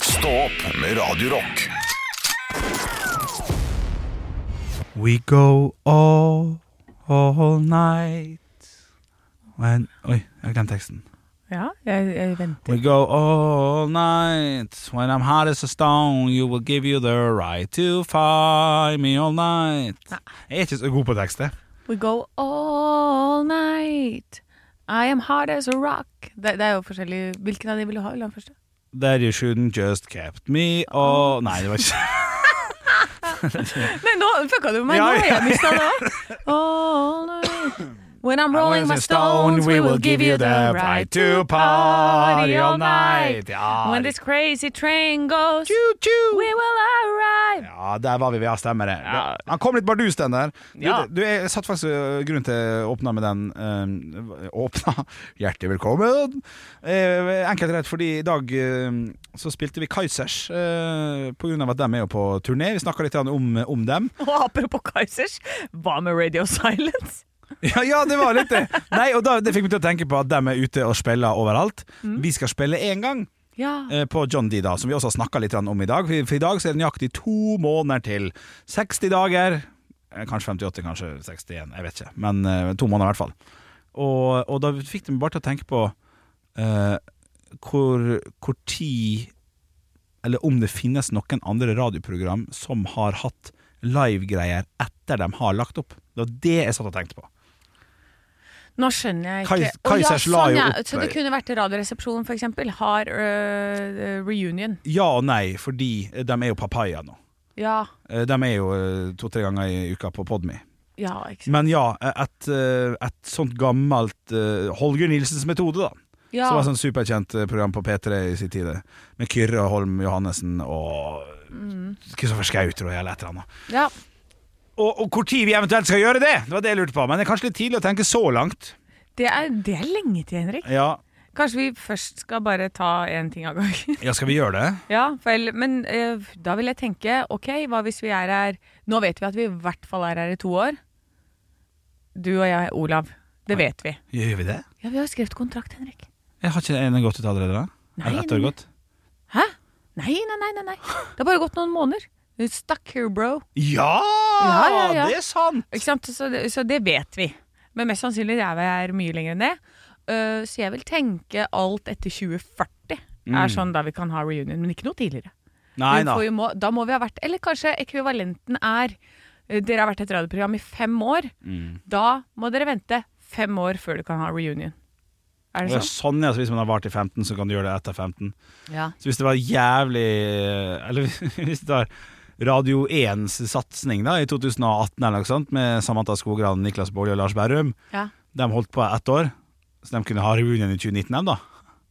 Stå opp med Radio Rock. We go all, all night When Oi, jeg glemte teksten. Ja, jeg, jeg venter. We go all night When I'm hot as a stone You will give you the right to find me all night Jeg er ikke så god på tekst, jeg. We go all night. I am hard as a rock. Det, det er jo forskjellig. Hvilken av de vil du ha? Vil du ha den første? That you shouldn't just kept me all Nei, det var ikke Nei, nå fucka du med meg. Ja, nå har ja, jeg mista det òg. All night. When I'm rolling my stones, we will give you the right to party all night. Ja, When this crazy train goes, Choo-choo. we will arrive. Ja, der var vi ved, ja, stemmer det. Ja. Han kom litt bardus, den der. Du, Ja. du, jeg satt faktisk øh, grunnen til å åpne med den. øh, åpna Hjertelig velkommen! Eh, enkelt og rett fordi i dag øh, så spilte vi Kaizers, øh, på grunn av at de er jo på turné. Vi snakka litt grann om, om dem. Og apropos Kaizers, hva med Radio Silence? Ja, ja, det var litt det! Nei, og da, Det fikk meg til å tenke på at de er ute og spiller overalt. Mm. Vi skal spille én gang. Ja. eh, på John D, da, som vi også har snakka litt om i dag. For for i dag så er det nøyaktig to måneder til. 60 dager. eh, Kanskje 58, kanskje 61, jeg vet ikke. Men eh, to måneder i hvert fall. Og, og da fikk det meg bare til å tenke på eh, hvor, hvor tid Eller om det finnes noen andre radioprogram som har hatt livegreier etter de har lagt opp. Det var det jeg satt og tenkte på. Nå skjønner jeg ikke. Kai- Å, ja, sånn, Kaizers la jo ja. opp- Så det kunne vært Radioresepsjonen, for eksempel. Har øh, reunion. Ja og nei, fordi de er jo papaya nå. Ja. Eh, De er jo eh, to-tre ganger i uka på Podme. Ja, ikke sant. Men ja, et, eh, et sånt gammelt eh, Holger Nilsens metode, da. Ja. Som var et sånt superkjent eh, program på P3 i sin tid. eh, Med Kyrre Holm Johannessen og Mm. Kristoffer Schou, tror jeg, eller et eller annet. ja. Og, og hvor tid vi eventuelt skal gjøre det! Det var det jeg lurte på. Men det er kanskje litt tidlig å tenke så langt. Det, er, det er lenge til, Henrik. Ja, Kanskje vi først skal bare ta én ting av gangen. ja skal vi gjøre det? ja, vel, men øh, da vil jeg tenke OK, hva hvis vi er her Nå vet vi at vi i hvert fall er her i to år. Du og jeg, Olav. Det vet vi. Gjør vi det? Ja, vi har jo skrevet kontrakt, Henrik. Jeg har ikke en gått ut allerede? da? Nei, Eller ett år nei. gått? Hæ? Nei, nei, nei, nei. nei. Det har bare gått noen måneder. You're Stuck here, bro. Ja, Ja, ja, ja. Det er sant! Ikke sant? Så, det, så det vet vi. Men mest sannsynlig er vi her mye lenger enn det. Eh, så jeg vil tenke alt etter 2040 er sånn da vi kan ha reunion, men ikke noe tidligere. Mm. Nei Vi da. får jo må, da må vi ha vært Eller kanskje ekvivalenten er eh, Dere har vært et radioprogram i fem år. Mm. Da må dere vente fem år før du kan ha reunion. Ja, Er det sånn? sånn ja, så Hvis man har vart i 15, så kan du gjøre det etter 15. Ja. Så hvis det var jævlig Eller hvis det var Radio 1s satsning da, i 2018 eller noe sånt, med Samantha Skogran, Niklas Baarli og Lars Berrum, Ja. de holdt på ett år, så de kunne ha reunion i 2019, dem da.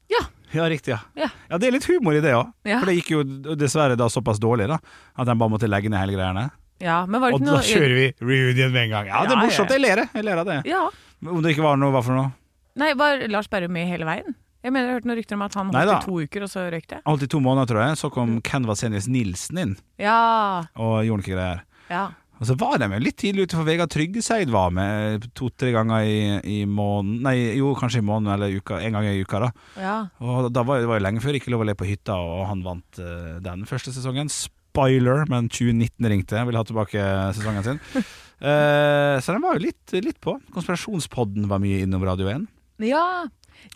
Ja. Ja, riktig, ja. Ja. Ja, det er litt humor i det òg, Ja. for det gikk jo dessverre da såpass dårlig da, at de bare måtte legge ned hele greiene. ja. Men var det Og ikke da noe kjører vi reunion med en gang. Ja, det er Ja, ja. morsomt. Jeg ler, jeg. jeg ler av det. Ja. Om det ikke var noe, hva for noe? Nei, var Lars Berrum med hele veien? Jeg mener, jeg hørte noen rykter om at han holdt Neida. i to uker, og så røyk det. Jeg Holdt i to måneder, tror jeg. Så kom Ken Vasenius Nilsen inn Ja, og gjorde noen greier. ja. Og så var de jo litt tidlig ute, for Vegard Tryggeseid var med to-tre ganger i, i måneden Nei, jo, kanskje i måneden eller uka, en gang i uka, da. ja. Og da var, det var jo lenge før Ikke lov å le på hytta, og han vant eh, den første sesongen. Spoiler, men 2019 ringte, ville ha tilbake sesongen sin. Eh, så den var jo litt, litt på. Konspirasjonspodden var mye innom Radio 1. Ja.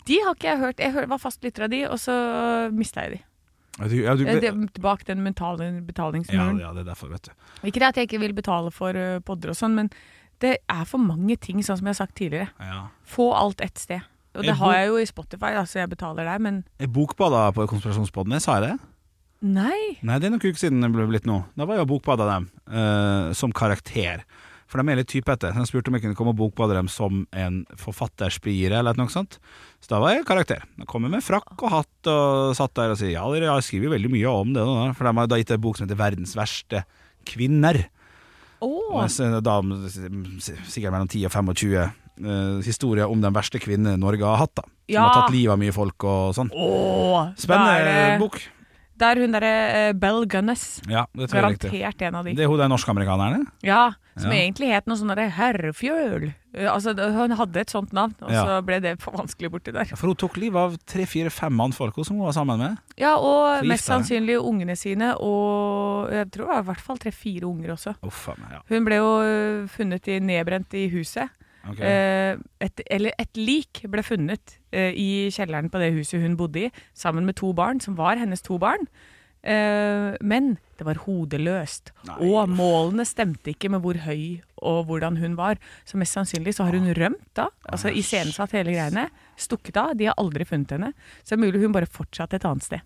De har ikke jeg hørt. Jeg hør- var fastlytter av de, og så mista jeg de. Ja, du, ja, du, Eh, ja, det- Bak den mentale betalingsmuren. ja, det er derfor, vet du. Ikke det at jeg ikke vil betale for eh, podder og sånn, men det er for mange ting, sånn som jeg har sagt tidligere. Ja. Få alt ett sted. Og Jeg det bor- har jeg jo i Spotify, da, så jeg betaler der, men Jeg bokbada på Konspirasjonspodden, jeg sa jeg det? nei. Nei, det er noen uker siden det ble blitt nå. Da var jeg og bokbada dem eh, som karakter. For de er litt typete. Så jeg spurte om jeg kunne komme og bokbade dem som en forfatterspire eller noe sånt. Så da var jeg karakter. Jeg kom jeg med frakk og hatt og satt der og sa ja, dere jeg skriver jo veldig mye om det, nå, da». for de har da gitt en bok som heter 'Verdens verste kvinner'. Og Åh, jeg ser da, sikkert mellom 10 og 25 eh, historier om den verste kvinnen Norge har hatt. da Som Ja. har tatt livet av mye folk og sånn. åh, Spennende da er det- bok. Det er hun derre eh, Bell Gunness. Ja, det tror jeg er riktig. Garantert en av de. Det er hun den norsk-amerikaneren? Ja, som Ja. egentlig het noe sånn derre Herrefjøl. Eh, Altså, det- hun hadde et sånt navn, og Ja. så ble det for vanskelig borti der. For hun tok livet av tre-fire-fem mannfolk hun som hun var sammen med. Ja, og Forgifta mest henne. sannsynlig ungene sine, og jeg tror det var i hvert fall tre-fire unger også. Uff a meg, ja. Hun ble jo eh, funnet i, nedbrent i huset. Ok. Eh, et, eller et lik ble funnet eh, i kjelleren på det huset hun bodde i, sammen med to barn, som var hennes to barn. Eh, men det var hodeløst, Nei. og målene stemte ikke med hvor høy og hvordan hun var. Så mest sannsynlig så har Ah. hun rømt da, altså iscenesatt hele greiene, stukket av. De har aldri funnet henne. Så det er mulig hun bare fortsatte et annet sted.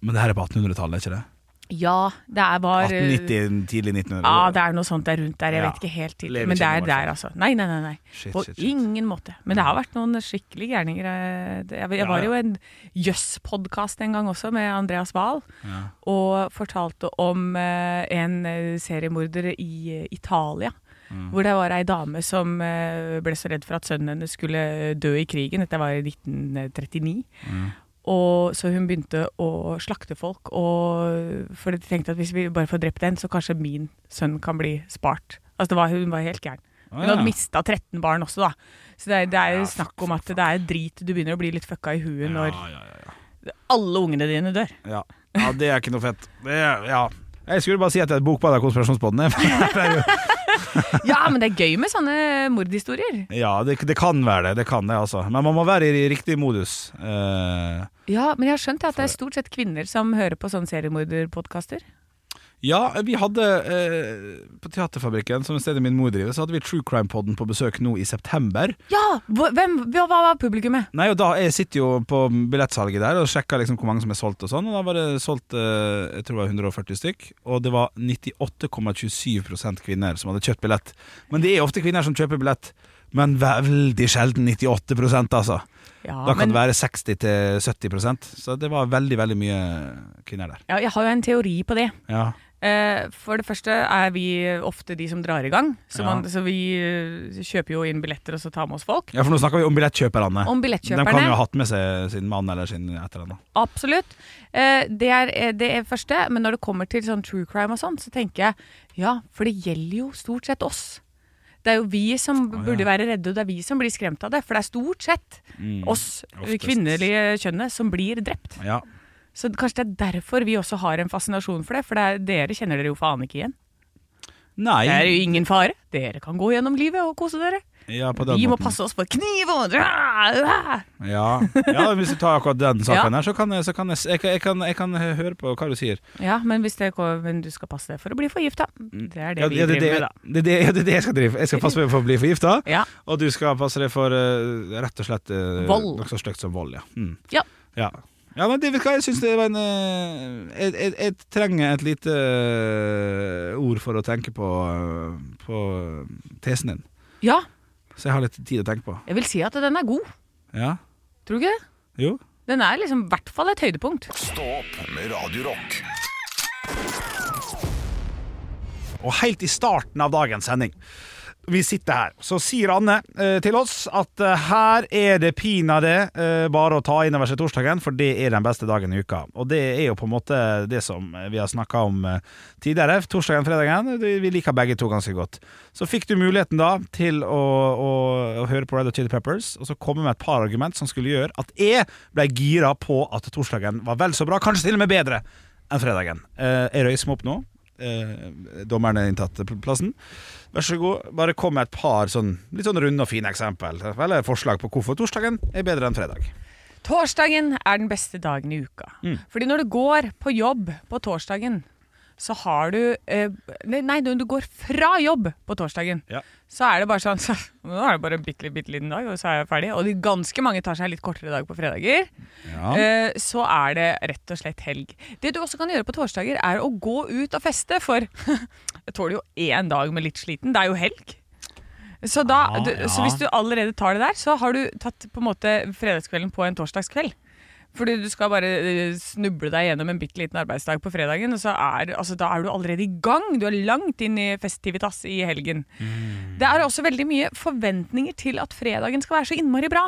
Men det her er på 1800-tallet, ikke det? Ja, det er eh, var 1890, tidlig 1900. Ja, det er noe sånt der rundt der. Jeg Ja. vet ikke helt tid. Lever Men det ikke er noe, i der, altså. Nei, nei, nei. nei. Shit, På shit, shit. ingen måte. Men det har vært noen skikkelig gærninger. eh, det- Jeg, jeg var ja. jo en Jøss-podkast en gang også, med Andreas Wahl, Ja. og fortalte om eh, en eh, seriemorder i eh, Italia. Mm. Hvor det var ei dame som eh, ble så redd for at sønnen hennes skulle eh, dø i krigen. Dette var i 1939. Mm. Og så hun begynte å slakte folk, og for de tenkte at hvis vi bare får drept en, så kanskje min sønn kan bli spart. Altså det var, Hun var helt gæren. Hun Å, ja. hadde mista 13 barn også, da. Så det er, det er jo Ja, fuck, snakk om at det er drit. Du begynner å bli litt fucka i huet når Ja, ja, ja, alle ungene dine dør. ja. ja. ja, det er ikke noe fett. Det er, ja. Jeg skulle bare si at jeg er et bokbad av konspirasjonspodden. Ja, men det er gøy med sånne mordhistorier. ja, det, det kan være det. Det kan det, altså. Men man må være i riktig modus. Eh, Ja, Men jeg har skjønt at det er stort sett kvinner som hører på sånne seriemorderpodkaster. Ja, vi hadde eh, på Teaterfabrikken, som stedet min mor driver, så hadde vi True Crime-podden på besøk nå i september. Ja! Hva, hvem, hva var publikummet? Nei, og da, Jeg sitter jo på billettsalget der og sjekker liksom hvor mange som er solgt, og sånn Og da var det solgt eh, jeg tror det var 140 stykk, og det var 98,27 kvinner som hadde kjøpt billett. Men det er jo ofte kvinner som kjøper billett, men veldig sjelden 98 altså. Ja, Da kan men- det være 60-70 så det var veldig, veldig mye kvinner der. ja, jeg har jo en teori på det. Ja, Eh, For det første er vi ofte de som drar i gang. Så, Ja. man, så vi eh, kjøper jo inn billetter og så tar med oss folk. ja for nå snakker vi om billettkjøperne. De kan Om jo billettkjøperne. ha hatt med seg sin mann eller sin et eller annet. Absolutt. Eh, Det er eh, det er første. Men når det kommer til sånn true crime og sånn, så tenker jeg ja, for det gjelder jo stort sett oss. Det er jo vi som ja. burde være redde, og det er vi som blir skremt av det. For det er stort sett oss Mm, eh, Oftest. kvinnelige kjønnet som blir drept. Ja. Så kanskje det er derfor vi også har en fascinasjon for det. For det er, dere kjenner dere jo faen ikke igjen. Nei. Det er jo ingen fare. Dere kan gå gjennom livet og kose dere. Ja, på den Vi må måten. passe oss for kniv og Ah, ah. Ja. ja, hvis du tar akkurat den saken Ja. her, så kan, jeg, så kan jeg, jeg, kan- jeg, kan, jeg kan høre på hva du sier. Ja, men, hvis det går, men du skal passe deg for å bli forgifta. Det er Mm. det Ja, vi ja, det, det, driver med, da. det, det, ja, det er det jeg skal drive. Jeg skal passe meg for å bli forgifta, Ja. og du skal passe deg for eh, rett og slett eh, Vold. Noe så stygt som vold, ja. Mm. Ja. ja. Ja, men det, vet du hva, jeg syns det var en eh, jeg, jeg, jeg trenger et lite eh, ord for å tenke på, eh, på tesen din. ja, Så jeg har litt tid å tenke på. jeg vil si at den er god. Ja? Tror du ikke det? Jo? Den er liksom i hvert fall et høydepunkt. Stå opp med Radio Rock. Og helt i starten av dagens sending vi sitter her, så sier Anne eh, til oss at eh, her er det pinadø eh, bare å ta innover seg torsdagen, for det er den beste dagen i uka. Og det er jo på en måte det som vi har snakka om eh, tidligere. Torsdagen og fredagen, det- vi liker begge to ganske godt. Så fikk du muligheten da til å, å, å høre på Red Hot Chili Peppers, og så komme med et par argument som skulle gjøre at jeg ble gira på at torsdagen var vel så bra, kanskje til og med bedre enn fredagen. Eh, jeg røyser meg opp nå. Eh, dommeren er inntatt pl- plassen. Vær så god, bare kom med et par sånn, litt sånn runde og fine eksempel. Eller forslag på hvorfor torsdagen er bedre enn fredag. Torsdagen er den beste dagen i uka. Fordi når du går på jobb på torsdagen, så har du eh, Nei, nei, når du går fra jobb på torsdagen, Ja. så er det bare sånn så, Nå er det bare en bitte, bitte liten dag, og så er jeg ferdig. Og de ganske mange tar seg en litt kortere dag på fredager. Ja. Eh, så er det rett og slett helg. Det du også kan gjøre på torsdager, er å gå ut og feste, for jeg tåler jo én dag med litt sliten. Det er jo helg. Så, da, Ah, du, så ja. hvis du allerede tar det der, så har du tatt på en måte fredagskvelden på en torsdagskveld. Fordi du skal bare eh, snuble deg gjennom en bitte liten arbeidsdag på fredagen, og så er, altså, da er du allerede i gang. Du er langt inn i festivitas i helgen. Det er også veldig mye forventninger til at fredagen skal være så innmari bra.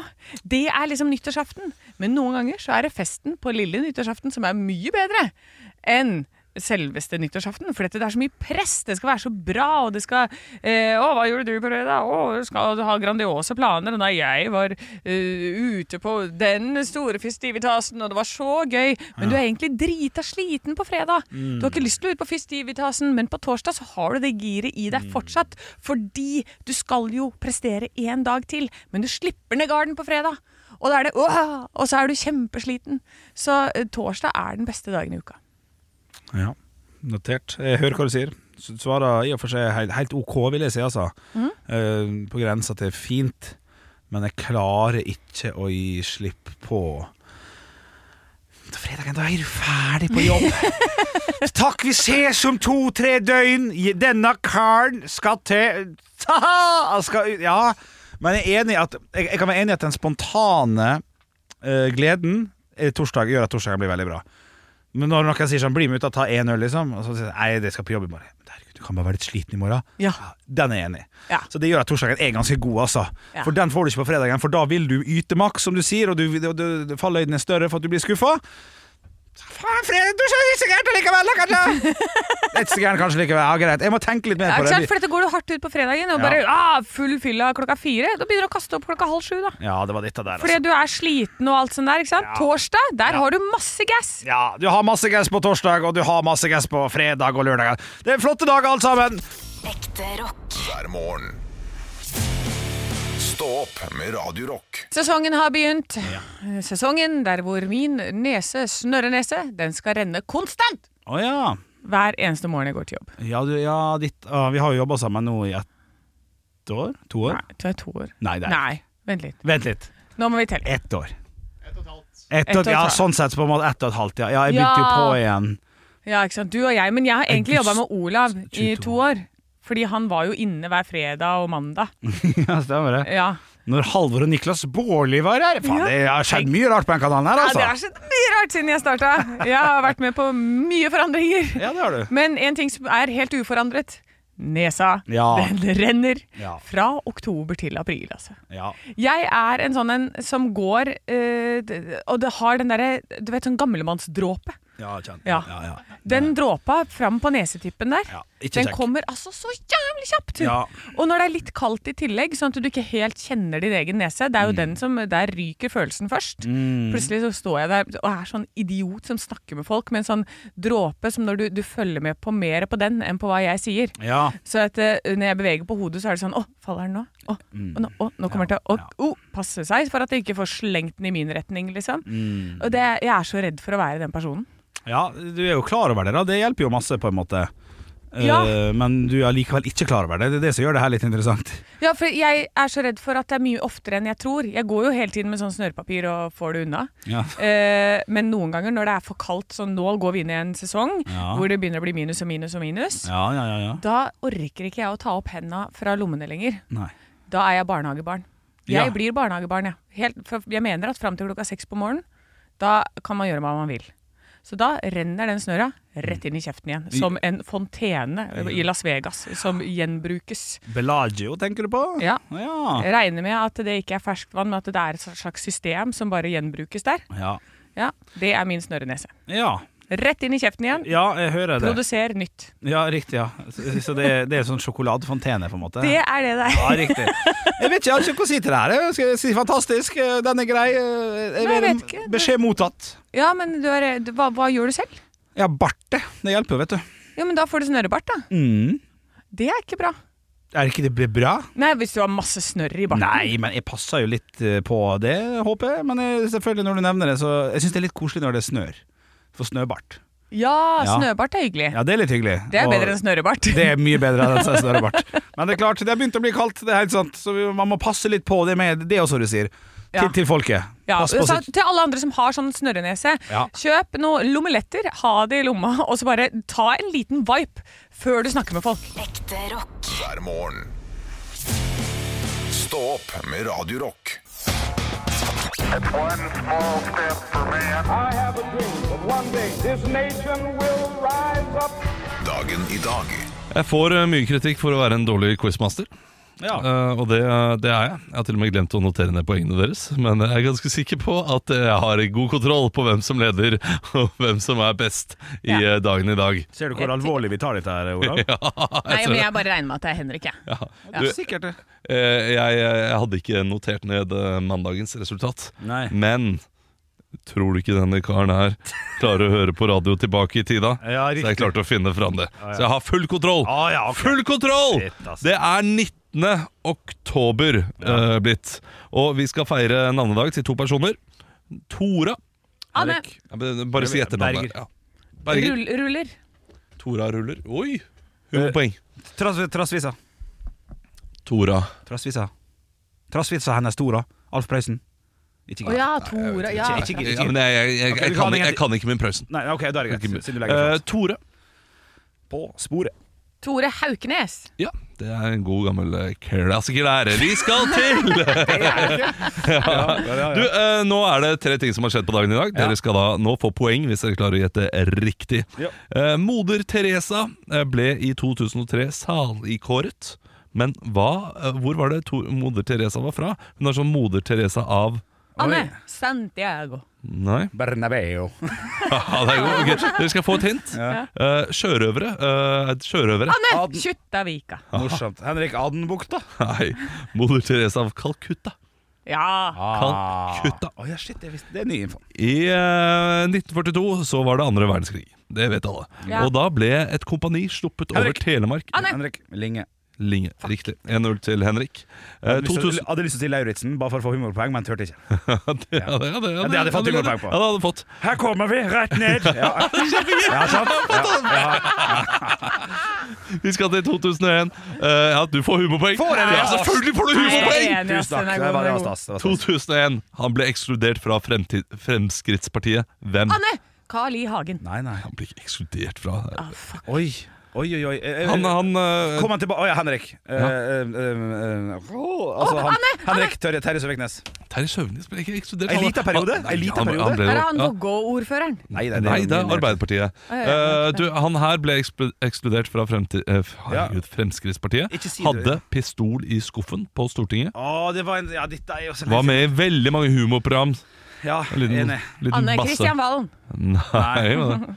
Det er liksom nyttårsaften. Men noen ganger så er det festen på lille nyttårsaften som er mye bedre enn selveste nyttårsaften. For dette, det er så mye press. Det skal være så bra, og det skal eh, 'Å, hva gjorde du på fredag?' 'Å, du skal ha grandiose planer.' Og 'Nei, jeg var eh, ute på den store festivitasen, og det var så gøy.' Men du er egentlig drita sliten på fredag. Du har Mm. ikke lyst til å ut på festivitasen, men på torsdag så har du det giret i Mm. deg fortsatt. Fordi du skal jo prestere én dag til, men du slipper ned garden på fredag. Og da er det «Åh!» Og så er du kjempesliten. Så eh, torsdag er den beste dagen i uka. ja. Notert. Jeg hører hva du sier. S- Svarer i og for seg helt, helt OK, vil jeg si, altså. Eh, på grensa til fint. Men jeg klarer ikke å gi slipp på Til fredagen, da er du ferdig på jobb. Takk, vi ses om to-tre døgn. Denne karen skal til Ta-ha! skal, ut- Ja. Men jeg, er enig i at, jeg, jeg kan være enig i at den spontane eh, gleden eh, torsdag, gjør at torsdagen blir veldig bra. Men når noen sier sånn 'bli med ut og ta én øl', liksom, og så sier jeg, nei, det skal på jobb i morgen. Men herregud, du kan bare være litt sliten i morgen. Ja. Den er jeg enig i. Ja. Så det gjør at torsdagen er ganske god, altså. Ja. For den får du ikke på fredagen, for da vil du yte maks, som du sier, og du, du, du, falløyden er større for at du blir skuffa. Faen, fredag, du er ikke så gæren allikevel, da, kanskje! Litt så gæren kanskje likevel. Ja, greit. Jeg må tenke litt mer Ja, på ikke sant? det. For dette går du hardt ut på fredagen, og Ja. bare ah, full fylla klokka fire. Da begynner du å kaste opp klokka halv sju, da. Ja, det var dette der, Fordi altså. du er sliten og alt sånt der. ikke sant? Ja. Torsdag, der Ja. har du masse gass. Ja, du har masse gass på torsdag, og du har masse gass på fredag og lørdag. Det er flotte dager, alt sammen. Ekte rock. hver morgen. Stå opp med Radio Rock. Sesongen har begynt. Sesongen der hvor min nese, snørrenese, den skal renne konstant Å ja. hver eneste morgen jeg går til jobb. Ja, du, ja ditt, ah, vi har jo jobba sammen nå i ett år? To år? Nei, det er to år. Nei, det er- Eh. Nei, vent litt. Vent litt. Nå må vi telle. Ett år. Ett Ett og et og et halvt. Ja, halvt. sånn sett på en måte ett og et halvt, ja. ja jeg begynte jo Ja. på igjen. Ja, ikke sant? Du og jeg, men jeg har egentlig August jobba med Olav 22. i to år. Fordi han var jo inne hver fredag og mandag. Mm. ja, stemmer det. Ja. Når Halvor og Niklas Baarli var her Faen, Ja. det har skjedd mye rart på den kanalen her, ja, det altså. har skjedd mye rart siden jeg starta. Jeg har vært med på mye forandringer. Ja, det har du. Men en ting som er helt uforandret. Nesa. Ja. Den renner. Ja. Fra oktober til april, altså. Ja. Jeg er en sånn en som går eh, d- Og det har den derre Du vet, sånn gamlemannsdråpe. Ja, kjent. Ja. Ja, ja. Den dråpa fram på nesetippen der, Ja, ikke den kjekk. kommer altså så jævlig kjapt! Ja. Og når det er litt kaldt i tillegg, sånn at du ikke helt kjenner din egen nese Det er Mm. jo den som Der ryker følelsen først. Plutselig så står jeg der og er sånn idiot som snakker med folk med en sånn dråpe som når du, du følger med på mer på den enn på hva jeg sier. Ja. Så at, eh, når jeg beveger på hodet, så er det sånn Å, faller den nå? Å, Mm. å, nå, å, nå kommer den til å å, passe seg for at jeg ikke får slengt den i min retning, liksom. Mm. Og det, jeg er så redd for å være den personen. ja, du er jo klar over det, da. Det hjelper jo masse, på en måte. Eh, Ja. Men du er likevel ikke klar over det. Det er det som gjør det her litt interessant. Ja, for jeg er så redd for at det er mye oftere enn jeg tror. Jeg går jo hele tiden med sånn snørrpapir og får det unna. Ja. Eh, men noen ganger når det er for kaldt, sånn nå går vi inn i en sesong Ja. hvor det begynner å bli minus og minus og minus, Ja, ja, ja, ja. da orker ikke jeg å ta opp henda fra lommene lenger. Nei. Da er jeg barnehagebarn. Ja. Jeg blir barnehagebarn, jeg. Helt, for jeg mener at fram til klokka seks på morgenen, da kan man gjøre hva man vil. Så da renner den snørra rett inn i kjeften igjen. Som en fontene i Las Vegas som gjenbrukes. Bellagio, tenker du på? Ja. Ja. Jeg regner med at det ikke er ferskt vann, men at det er et slags system som bare gjenbrukes der. Ja. Ja, Det er min snørrenese. ja. Rett inn i kjeften igjen. ja, jeg hører det. Produser nytt. Ja, riktig. ja Så så det, er- det er sånn sjokoladefontene, på en måte? Det er det det er. Ja, riktig. Jeg vet ikke, jeg har ikke noe å si til det her. Jeg skal si fantastisk, eh, den er grei. Jeg Nei, jeg vil- vet ikke. Beskjed mottatt. Ja, men du er, du, hva, hva gjør du selv? Ja, barte. Det hjelper jo, vet du. Jo, men da får du snørrebart, da. Mm. Det er ikke bra. Er ikke det bra? Nei, hvis du har masse snørr i barten. Nei, men jeg passer jo litt eh, på det, håper jeg. Men jeg, selvfølgelig, når du nevner det, så Jeg syns det er litt koselig når det snør. For snøbart. Ja, Ja. snøbart er hyggelig. Ja, det er litt hyggelig. Det er Og bedre enn snørrebart. det er mye bedre enn en snørrebart. Men det er klart, det har begynt å bli kaldt, det er helt sant. Så vi- man må passe litt på det med det også, du sier. Til, Ja. til folket. Ja, Pass på så sitt. til alle andre som har sånn snørrenese, Ja. kjøp noen lommeletter, ha det i lomma, og så bare ta en liten vipe før du snakker med folk. Ekte rock. hver morgen. Stå opp med Radio Rock. One small step for man. I have a dream that one day this nation will rise up. Dagen i dag Jeg får eh, mye kritikk for å være en dårlig quizmaster. Ja. Eh, og det, det er jeg. Jeg har til og med glemt å notere ned poengene deres. Men jeg er ganske sikker på at eh, jeg har god kontroll på hvem som leder, og hvem som er best i Ja. eh, dagen i dag. Ser du hvor alvorlig vi tar dette her, Olav? Ja, Nei, men jeg bare regner med at det er Henrik, jeg. Ja. det er sikkert det. Eh, jeg, jeg hadde ikke notert ned eh, mandagens resultat. Nei. Men tror du ikke denne karen her klarer å høre på radio tilbake i tida? Ja, så riktig. jeg klarte å finne fram det. Så jeg har full kontroll! Ah, ja, ok. Full kontroll! Shit, altså. ass. Det er 19. oktober eh, blitt. Og vi skal feire navnedag til to personer. Tora. Anne, Ja, men Bare si Berger. etternavnet. Ja. Berger. rull, ruller. Tora ruller. Oi! 100 Eh. poeng. Trass- Trassvisa. Tora. Trassvisa. Trassvisa hennes Tora. Alf Prøysen. Ikke Å ja, Tora. Ja. Ikke- ikke- Ja, men jeg, jeg, jeg, jeg, Ok, du kan kan, ingen- ikke- jeg kan ikke min Prøysen. Nei, ok, da er det greit. Siden du legger Eh, det fram. Tore. På sporet. Tore Haukenes. Ja, det er en god gammel eh, klassiker der. Vi skal til! Du, eh, nå er det tre ting som har skjedd på dagen i dag. Dere skal da nå få poeng hvis dere klarer å gjette riktig. Ja. Eh, Moder Teresa eh, ble i 2003 saligkåret. Men hva, eh, hvor var det to, Moder Teresa var fra? Hun er sånn Moder Teresa av Anne Santiago. Nei. Bernabeu. Ja, det er god. Ok, Dere skal få et hint. Eh, sjørøvere. Eh, sjørøvere. Anne Kjuttaviga. Morsomt. Henrik Adenbukta. Nei. Moder Teresa av Calcutta. Ja. Calcutta. Ah. Å ja, shit, det visste- det er ny info. I eh, 1942 så var det andre verdenskrig. Det vet alle. Ja. Og da ble et kompani sluppet over Henrik. Telemark. Anne. Henrik Linge. Linge. Riktig. 1-0 til Henrik. Eh, Hadde lyst til- 2000 hadde lyst til å si Lauritzen, bare for å få humorpoeng, men turte ikke. Ja, det hadde jeg Ja, det hadde jeg fått ja, det- humorpoeng på. Ja, det hadde jeg fått. Her kommer vi, rett ned! Ja, ja sant? Ja, ja. Vi skal til 2001. Eh, ja, du får humorpoeng. Får jeg det? ja, selvfølgelig får du humorpoeng! Nei, jeg er enig, ass. Tusen takk. Den er Det var, det god, den var er god. stas. Det var stas. 2001. Han ble ekskludert fra fremtid, Fremskrittspartiet. Hvem? Anne Carl I. Hagen. Nei, nei. Han ble ikke ekskludert fra Oi, oi, oi. oi. Ah, Eh, eh, Han, han eh, Kom han tilbake Å ja, Henrik. Eh, eh, eh, eh, åh, altså, han, Henrik Terje, Terje Søviknes. Terje Søvnes ble ikke ekskludert. En Han- liten periode? han- nei, En liten han- han periode? ble- Her er han ja. Vågå-ordføreren. Nei, Nei, det er mye mer. Arbeiderpartiet. Å, ja, ja. Eh, du, han her ble ekspl- ekskludert fra fremtid, eh, herregud, Fremskrittspartiet. Ikke si det. Hadde pistol i skuffen på Stortinget. Å, det var en Ja, dette er jo så Var med i veldig mange humorprogram. Ja, En Liten, enig. liten Anne masse. Kristian Valen. Nei, men det-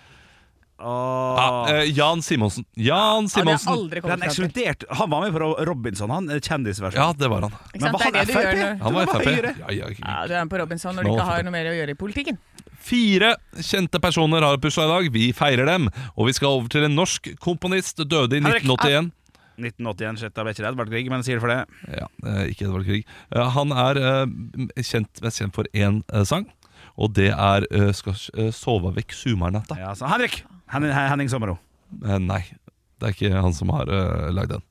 Åh. ja, eh, Jan Simonsen. Jan Han har Simonsen! aldri Den kommet fram til. ekskludert Han var med på Ro- Robinson, han. eh, Kjendisversjon. Ja, det var han. Ikke sant? Det er det du gjør nå. Han var Det var Frp. Høyre. Ja, Ja, ja, ja. du er med på Robinson når du ikke har noe mer å gjøre i politikken. Fire kjente personer har bursdag i dag. Vi feirer dem. Og vi skal over til en norsk komponist. Døde i Henrik. 1981. 1981, shit, jeg vet ikke det hadde vært krig, men jeg sier det for det. Ja, eh, ikke Edvard Grieg. Eh, Han er eh, m- kjent, mest kjent for én eh, sang, og det er eh, 'Skal s- eh, sova vekk sumarnatta'. Ja, så Henrik! Henning, Henning Sommero. Eh, Nei, det er ikke han som har eh, lagd den.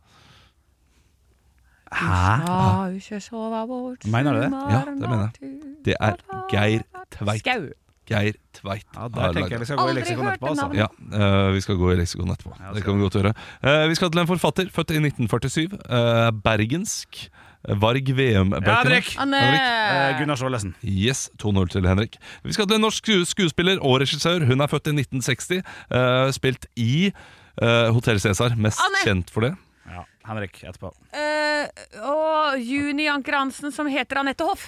Hæ? Ah, ikke sove bort, Mener du det? Ja, det mener jeg. Det er Geir Tveit. Skau. Geir Tveit Ja, har der lagd tenker jeg liksom. vi skal gå i leksikon Aldri den. hørt etterpå, altså. navnet. Ja, eh, Vi skal gå i leksikon etterpå. det kan vi godt gjøre. Eh, vi skal til en forfatter, født i 1947. eh, bergensk. Varg Ja, Veum-bøkene. Henrik! Anne Eh, Gunnar Sjålesen. Yes, 2-0 til Henrik. Vi skal til en norsk sku- skuespiller og regissør. Hun er født i 1960, eh, spilt i uh, Hotell Cæsar. Mest Anne! kjent for det. Ja, Henrik etterpå. eh, og Juni Anker Hansen, som heter Anette Hoff.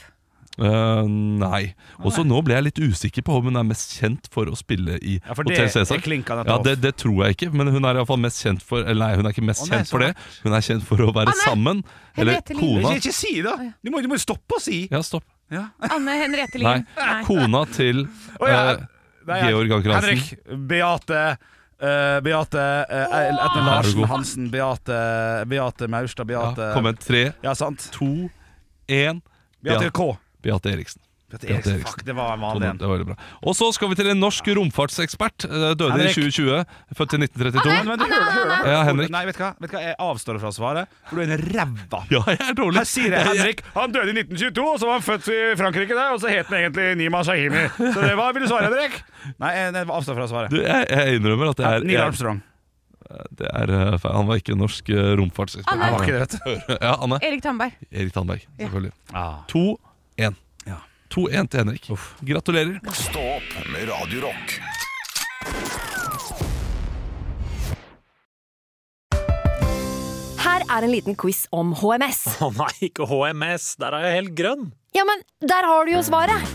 Eh, nei. Også nå ble jeg litt usikker på om hun er mest kjent for å spille i Ja, for det Hotell er Cæsar. klinka nettopp. Ja, det, det tror jeg ikke, men hun er i hvert fall mest kjent for Eller nei, hun er ikke mest Å, nei, kjent for så det. Hun er kjent for å være Anne! sammen. Eller Henriette Lien. kona. Ikke, ikke si det! da. Du må du må jo stoppe å si! Ja, stopp. Anne Henriette Nei. Lien. Nei. Kona til Å, ja. eh, Nei, jeg- Georg Anker Hansen. Henrik, Beate eh, Beate eh, Etne Herregud. Larsen Hansen, Beate Beate Maurstad, Ja, Beate kom igjen. Tre, Ja, sant. to, én. Beate Ja. K. Beate Eriksen. Petter Petter Eriksen, Eriksen. fuck, det var en Og vanlig det en. var veldig bra. Og så skal vi til en norsk romfartsekspert. eh, Døde Henrik. i 2020, født i 1932. Men du hører, hører, hører. Ja, Henrik. Nei, vet du hva? Vet du hva? Jeg avstår fra å svare, for du er en ræva. Ja, jeg er dårlig. Her sier jeg Henrik. Han døde i 1922, og så var han født i Frankrike, der, og så het han egentlig Nima Shahimi. Så det var, Vil du svare, Henrik? Nei, jeg, jeg avstår fra å svare. Du, jeg, jeg innrømmer at det er, Neil jeg, Armstrong. det er eh, feil. Han var ikke en norsk eh, romfartsekspert. Det var ikke det, vet du. Ja, Anne. Erik Tandberg. Erik Tandberg, selvfølgelig. Ah. 2-1. Ja. 2-1 til Henrik. Gratulerer. Stå opp med Radio Rock. Her er en liten quiz om HMS. Å nei, ikke HMS. Der er jeg helt grønn. Ja, men der har du jo svaret!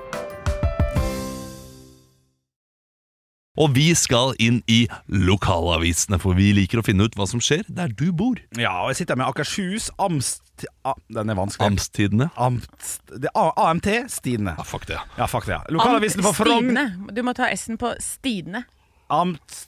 Og vi skal inn i lokalavisene, for vi liker å finne ut hva som skjer der du bor. Ja, og jeg sitter med Akershus, Amst... A, den er vanskelig. Amstidene. Amst... Det er A- AMT, Stine. Ja, fuck det. ja. Ja, fuck det, ja. Lokalavisen for Frogn. Stidene. Du må ta S-en på Stidene. Amtstid.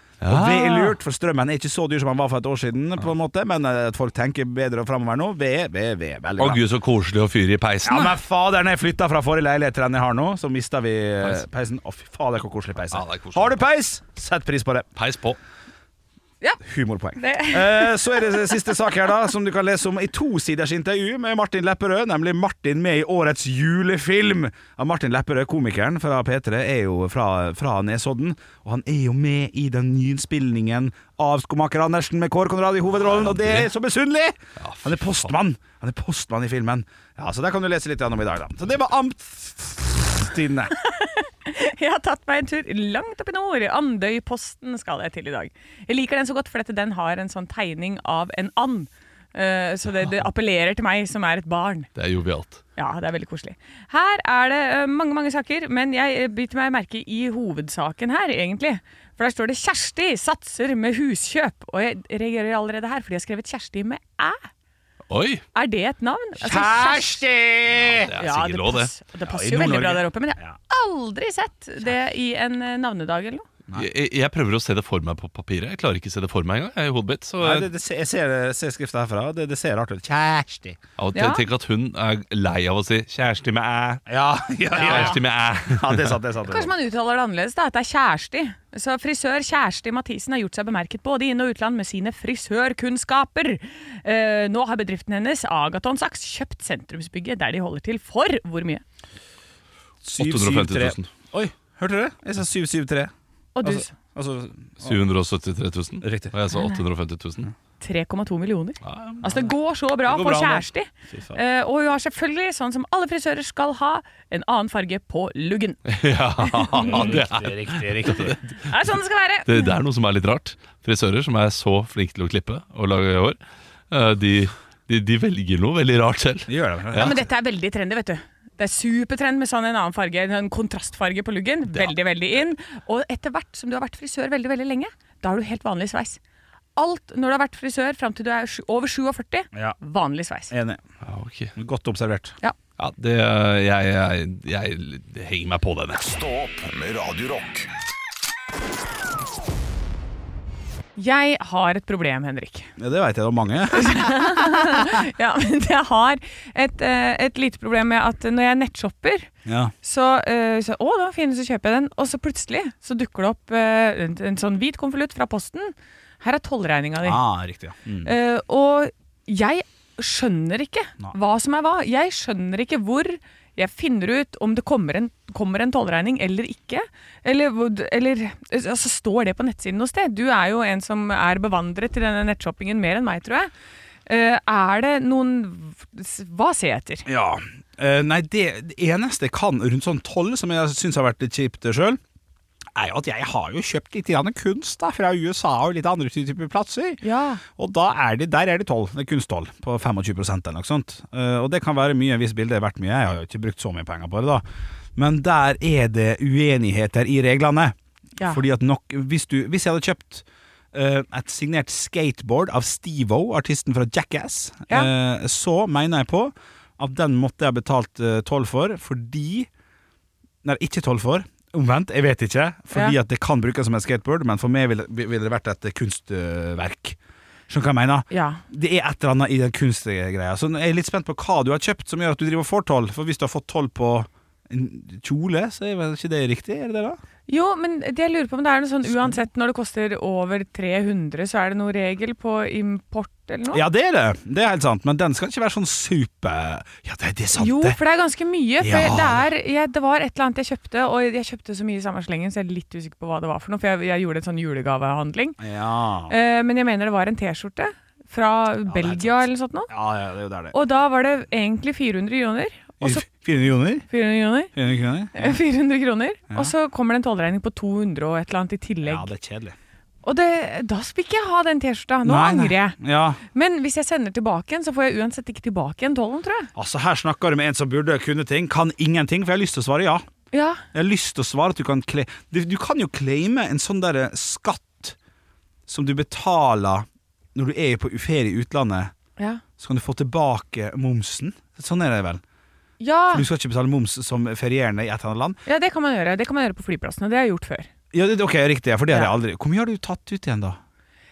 Og ved er lurt, for strømmen er ikke så dyr som den var for et år siden, på en måte, men eh, at folk tenker bedre framover nå. Ved, ved, ved. Veldig Å bra. gud, så koselig å fyre i peisen. Ja, da. men fader, når jeg flytta fra forrige leilighet til den jeg har nå, så mista vi eh, peisen. Å, fy fader, hvor koselig peis Ja, det er koselig. Har du peis, sett pris på det. Peis på. Humorpoeng. Det- Eh, så er det siste sak her, da, som du kan lese om i tosiders intervju med Martin Lepperød, nemlig Martin med i årets julefilm. Ja, Martin Lepperød, komikeren fra P3, er jo fra, fra Nesodden, og han er jo med i den nyinnspillingen av Skomaker Andersen med Kåre Konrad i hovedrollen, og det er så misunnelig! Han er postmann. Han er postmann i filmen. Ja, Så der kan du lese litt grann om i dag, da. Så det var Amtstidene. Jeg har tatt meg en tur langt opp i nord. Andøyposten skal jeg til i dag. Jeg liker den så godt, for at den har en sånn tegning av en and. Eh, Så det, det appellerer til meg, som er et barn. Det er jovialt. Ja, det er veldig koselig. Her er det eh, mange, mange saker, men jeg eh, biter meg merke i hovedsaken her, egentlig. For der står det 'Kjersti satser med huskjøp', og jeg reagerer allerede her, for de har skrevet 'Kjersti' med æ. Oi! Er det et navn? Altså, Kjersti! Det er Ja, det, sikkert lov, det. pass, det passer jo veldig bra der oppe, men jeg har aldri sett det i en eh, navnedag eller noe. Jeg, jeg prøver å se det for meg på papiret. Jeg klarer ikke å se det for meg engang. Jeg er i hodet mitt. Så eh, Nei, jeg, det, det, ser- jeg ser, ser skrifta herfra. Det, det ser rart ut. Kjersti. av og til Ja. tenker at hun er lei av å si 'kjæreste med Ja, æ'. ja, ja, ja. Kjæreste med æ. ja det er sant. Det er sant, det er sant. Kanskje man uttaler det annerledes, da, at det er Kjersti. Så frisør Kjersti Mathisen har gjort seg bemerket både inn- og utland med sine frisørkunnskaper. Eh, nå har bedriften hennes, Agaton Saks, kjøpt sentrumsbygget der de holder til for hvor mye? Syv, 850 syv, 000. tre. Oi, hørte du det? Jeg sa 773. Og du, Altså, altså, 773 000. Riktig. Og jeg sa 850 000. 3,2 millioner. Ja, ja, men- Altså, det går så bra Det går for bra, men- Kjersti. Eh, og hun har selvfølgelig, sånn som alle frisører skal ha, en annen farge på luggen. Det Ja, det, er, riktig, riktig, riktig. er sånn det skal være. det, det er noe som er litt rart. Frisører som er så flinke til å klippe og lage hår, eh, de, de, de velger noe veldig rart selv. De gjør det. Ja, men dette er veldig trendy, vet du. Det er supertrend med sånn en annen farge, en kontrastfarge på luggen. Veldig, veldig inn. Og etter hvert som du har vært frisør veldig, veldig lenge, da har du helt vanlig sveis. Alt når du har vært frisør fram til du er sju- over 47, Ja. vanlig sveis. Enig. Ja, ok. Godt observert. Ja, det, jeg, jeg, jeg henger meg på den. jeg. Stå opp med Radio Rock. Jeg har et problem, Henrik. Ja, det veit jeg det var mange. Ja, men jeg har et, eh, et lite problem med at når jeg nettshopper, Ja. så, eh, så Å, den var fin, så kjøper jeg den. Og så plutselig så dukker det opp eh, en, en sånn hvit konvolutt fra posten. Her er tollregninga di. Ah, riktig, ja. Mm. Eh, og jeg skjønner ikke Nei. hva som er hva. Jeg skjønner ikke hvor jeg finner ut om det kommer en, kommer en tollregning eller ikke. Eller, hvor- eller altså, står det på nettsiden noe sted? Du er jo en som er bevandret i denne nettshoppingen mer enn meg, tror jeg. Eh, er det noen Hva ser jeg etter? Ja. Eh, nei, det, det eneste jeg kan rundt sånn toll, som jeg syns har vært litt kjipt sjøl, er jo at jeg har jo kjøpt litt grann kunst da, fra USA og litt andre typer plasser. Ja. Og da er det, der er det toll, det er kunsttoll på 25 eller noe sånt. Eh, og det kan være mye hvis bildet er verdt mye, jeg har jo ikke brukt så mye penger på det da. Men der er det uenigheter i reglene. Ja. Fordi at nok, hvis, du, hvis jeg hadde kjøpt eh, et signert skateboard av Steve-O, artisten fra Jackass, eh, så mener jeg på at den måtte jeg ha betalt eh, toll for, fordi Nei, ikke tolv for. Omvendt, jeg vet ikke. Fordi Ja. at det kan brukes som et skateboard, men for meg ville ville det vært et eh, kunstverk. Skjønner du hva jeg mener? Ja. Det er et eller annet i den kunstgreia. Så jeg er litt spent på hva du har kjøpt som gjør at du driver og får toll. For hvis du har fått toll på en kjole, så er vel ikke det riktig? Er det det, da? Jo, men det jeg lurer på om det er noe sånn uansett når det koster over 300, så er det noen regel på import eller noe? Ja, det er det. Det er helt sant. Men den skal ikke være sånn super Ja, det, det er sant, Jo, det. for det er ganske mye. For Ja. det, er, jeg, det var et eller annet jeg kjøpte, og jeg kjøpte så mye i samme slengen, så jeg er litt usikker på hva det var for noe. For jeg, jeg gjorde en sånn julegavehandling. Ja. Eh, men jeg mener det var en T-skjorte fra Belgia sant. eller noe sånt noe. ja, ja, det er jo der, det. Og altså- da var det egentlig 400 kroner. Og så 400 kroner? 400 kroner. 400 kroner? Eh, 400 kroner. Og så kommer det en tollregning på 200 og et eller annet i tillegg. Ja, det er kjedelig. Og det, da skal ikke jeg ha den T-skjorta. Nå Nei, nei. angrer jeg. Ja. Men hvis jeg sender tilbake en, så får jeg uansett ikke tilbake en tollen, tror jeg. Altså, her snakker du med en som burde kunne ting, kan ingenting, for jeg har lyst til å svare ja. Ja. Jeg har lyst til å svare at du kan kle... Du, du kan jo claime en sånn der skatt som du betaler når du er på ferie i utlandet, Ja. så kan du få tilbake momsen. Sånn er det vel. Ja. For du skal ikke betale moms som ferierende i et eller annet land. ja, det kan man gjøre. Det kan man gjøre på flyplassene. Det har jeg gjort før. Ja, det, ok, riktig, ja, for det har jeg Ja. aldri... Hvor mye har du tatt ut igjen da?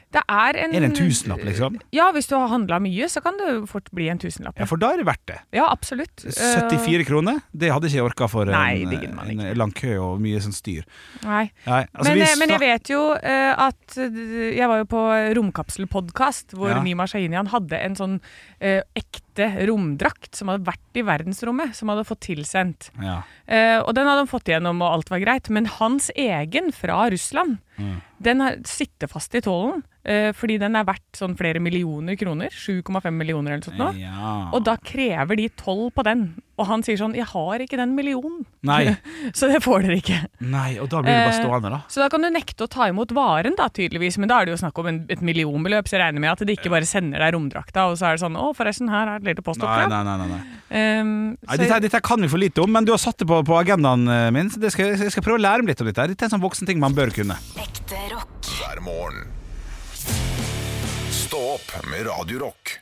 Det er en Er det en tusenlapp, liksom? Ja, hvis du har handla mye, så kan det fort bli en tusenlapp. Ja, Ja, for da er det verdt det. absolutt. Eh, 74 kroner, det hadde ikke jeg orket for Nei, en, det gidder man en lang kø og mye sånn styr. Nei. Nei, altså, men, vi eh, men jeg snak- vet jo eh, at eh, Jeg var jo på Romkapselpodkast, hvor Ja. Nima Shahinian hadde en sånn eh, ekte romdrakt som hadde vært i verdensrommet, som hadde fått tilsendt. Ja. Eh, og den hadde han fått igjennom, og alt var greit. Men hans egen fra Russland, Mm. den har, sitter fast i tålen. eh, fordi den er verdt sånn flere millioner kroner. 7,5 millioner eller noe sånt. nå. Ja. Og da krever de toll på den. Og han sier sånn 'Jeg har ikke den millionen, Nei, så det får dere ikke'. nei, og da blir det bare Eh, stående da. Så da kan du nekte å ta imot varen, da, tydeligvis. Men da er det jo snakk om en, et millionbeløp, så jeg regner med at de ikke bare sender deg romdrakta, og så er det sånn 'Å, forresten, her er et lite Nei, postoppdrag'. nei, nei, nei, nei. Um, Nei, så- dette, her- dette her kan vi for lite om, men du har satt det på, på agendaen eh, min. Så det skal, jeg skal prøve å lære meg litt om dette. her. Dette er en sånn voksen ting man bør kunne. Ekte rock. hver morgen. Stå opp med Radio Rock.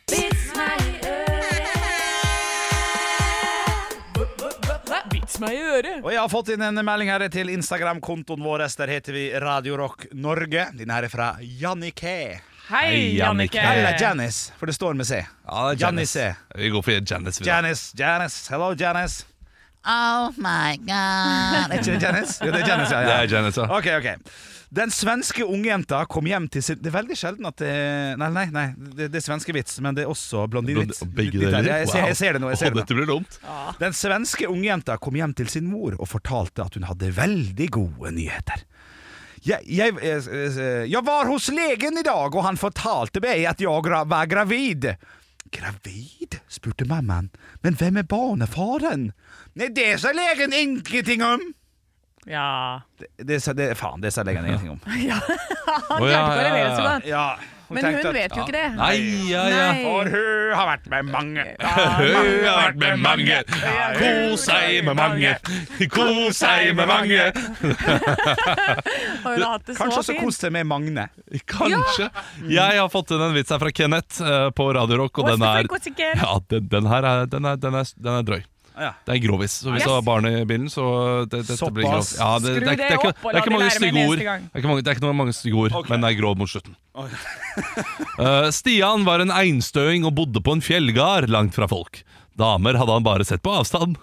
Hva? Vits meg i øret! Og jeg har fått inn en melding her til Instagram-kontoen vår. Der heter vi Radio Rock Norge. Din her er fra Jannicke. Hei, Jannicke! Eller Janice, for det står med C. Eh. Ja, det er Janice. Vi går for Janice. vi da. Janice, Janice. Hello, Janice. Oh my god. Er ikke det Janice? Jo, det er Janice, ja. ja. Det er Janice, ja. Ok, ok Den svenske ungjenta kom hjem til sin Det er veldig sjelden at det Nei, nei, nei det, det er svenske vits, men det er også blondinevits Begge Litt der. deler. Jeg, ser- jeg ser det nå, jeg ser Wow. Å, det nå Dette blir dumt. Den svenske ungjenta kom hjem til sin mor Og fortalte at hun hadde veldig gode nyheter jeg, jeg, eh, eh, jeg var hos legen i dag Og han fortalte meg at jeg gra var gravid Gravid? spurte mammaen Men hvem er barnefaren? Nei, det sa legen ingenting om Ja. det, det, sa- det, Faen, det sa legen ingenting om Han klarte ikke Å, ja, å ja, levere ja. så godt. Ja, Men tenkte hun at- vet jo ikke det. Nei, ja, ja. For hun har vært med mange. Hun har vært med mange. Kos seg med mange. Kos seg med mange. Har hun hatt det Kanskje så også fint? kos deg med Magne. Kanskje. Mm. Jeg har fått inn en vits her fra Kenneth eh, på Radio Rock, og What's den the er frequency, Ken? ja, den, den her er, den er, den er, den er drøy. Ja. Det er grovis. Så hvis Yes. du har barn i bilen, så det, dette Såpass. blir grovis. Ja, det, Skru det, er- det, er det ikke- opp og la det er ikke de mange lære meg stygge ord. neste gang. Det er ikke mange, det er ikke noe mange stygge ord, men det er grov mot slutten. Eh, Stian var en einstøing og bodde på en fjellgard langt fra folk. Damer hadde han bare sett på avstand.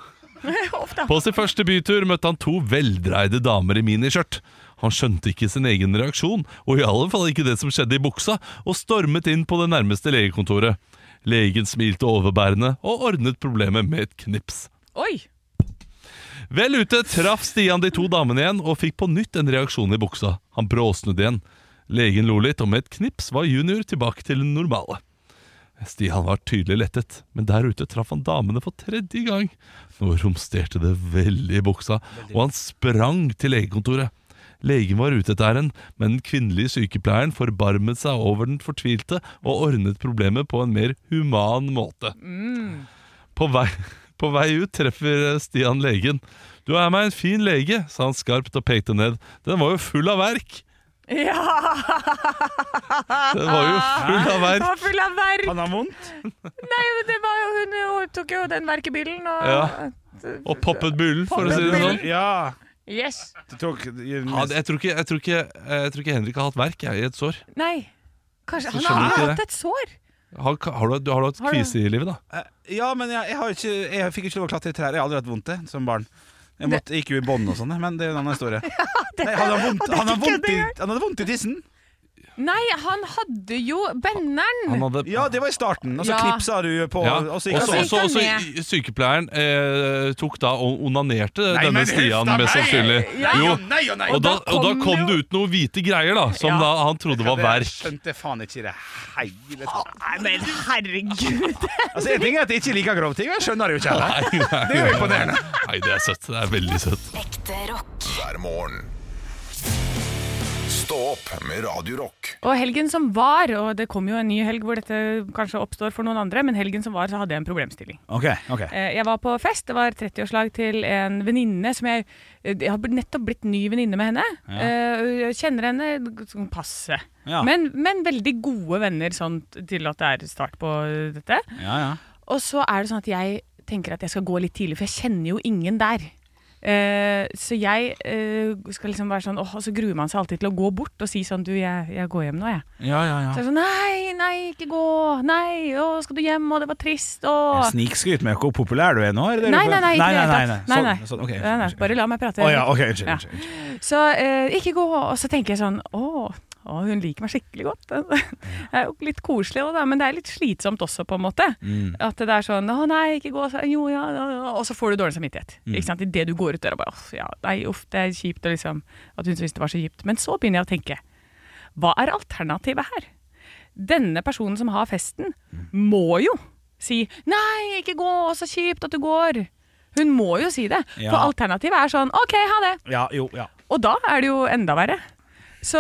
På sin første bytur møtte han to veldreide damer i miniskjørt. Han skjønte ikke sin egen reaksjon, og i alle fall ikke det som skjedde i buksa, og stormet inn på det nærmeste legekontoret. Legen smilte overbærende og ordnet problemet med et knips. Oi! Vel ute traff Stian de to damene igjen og fikk på nytt en reaksjon i buksa. Han bråsnudde igjen. Legen lo litt, og med et knips var junior tilbake til det normale. Stian var tydelig lettet, men der ute traff han damene for tredje gang. Nå romsterte det veldig i buksa, og han sprang til legekontoret. Legen var ute etter henne, men den kvinnelige sykepleieren forbarmet seg over den fortvilte og ordnet problemet på en mer human måte. På, vei, på vei ut treffer Stian legen. Du er meg en fin lege, sa han skarpt og pekte ned. Den var jo full av verk! Ja! Den var jo Ah. full av Den verk! var full av verk! Han har vondt. Nei, men det var jo, hun jo- tok jo den verkebilen og eh, Ja. Og poppet bullen, for å si det sånn. Ja. Yes! Det tok, Ja, jeg, tror ikke, jeg, tror ikke, jeg tror ikke Henrik har hatt verk jeg, i et sår. Nei. Kanskje, han skjønner har ikke hatt det. et sår. Har, har, du, har du hatt Har du- kvise i livet, da? Eh, Ja, men jeg, jeg, har ikke, jeg fikk ikke lov å klatre i trær. Jeg har aldri hatt vondt det som barn. Jeg måtte, gikk jo i bånd og sånn, men det er en annen historie. Nei, han hadde vondt, han hadde vondt, i, han hadde vondt i tissen. Nei, han hadde jo benderen. Han hadde Ja, det var i starten. Og så Ja. knipsa du på Ja, og så også, gikk så også, gikk også, han i- sykepleieren eh, tok da og onanerte denne men huff Stian, da, mest nei! sannsynlig. Ja. Jo, Nei og nei! og da, og da kom kom det ut noen hvite greier, da, som Ja. da han trodde var Jeg verk. skjønte faen ikke i det hele tatt. Nei, men herregud. Altså, en ting er at jeg ikke liker grove ting, og jeg skjønner det jo ikke. heller. Nei, nei, Det er jo nei, imponerende. nei. Nei, det er søtt. Det er veldig søtt. Ekte rock. hver morgen. Stå opp med Radio Rock. Og helgen som var, og det kom jo en ny helg hvor dette kanskje oppstår for noen andre, men helgen som var så hadde jeg en problemstilling. Ok, ok. Eh, Jeg var på fest, det var 30-årslag til en venninne som jeg eh, Jeg har blitt- nettopp blitt ny venninne med henne. Eh, Jeg kjenner henne sånn passe. Ja. Men, men veldig gode venner sånn til at det er start på eh, dette. Ja, ja. Og så er det sånn at jeg tenker at jeg skal gå litt tidlig, for jeg kjenner jo ingen der. Eh, så jeg eh, skal liksom være sånn åh, og så gruer man seg alltid til å gå bort og si sånn du, jeg, jeg går hjem nå, jeg. ja, ja, Så ja. jeg er sånn nei, nei, ikke gå. Nei, å, skal du hjem, og det var trist, og Snikskryt med hvor populær du er nå? er det det du- Nei, nei, nei, ikke i det hele tatt. Nei, Sånn, nei. sånn, ok. Nei, nei, Bare la meg prate. Å ja, ok, unnskyld. Ja. unnskyld, unnskyld. Så eh, ikke gå. Og så tenker jeg sånn Å, å hun liker meg skikkelig godt. det er jo litt koselig, også, da, men det er litt slitsomt også, på en måte. At det er sånn Å nei, ikke gå. Så, jo, ja, ja, ja. Og så får du dårlig samvittighet. Ikke sant? Idet du går ut døra bare «Åh, ja, Nei, uff, det er kjipt. Og liksom, at hun syntes det var så kjipt. Men så begynner jeg å tenke. Hva er alternativet her? Denne personen som har festen, må jo si 'nei, ikke gå, så kjipt at du går'. Hun må jo si det. Ja. For alternativet er sånn 'OK, ha det'. Ja, jo, ja. Og da er det jo enda verre. Så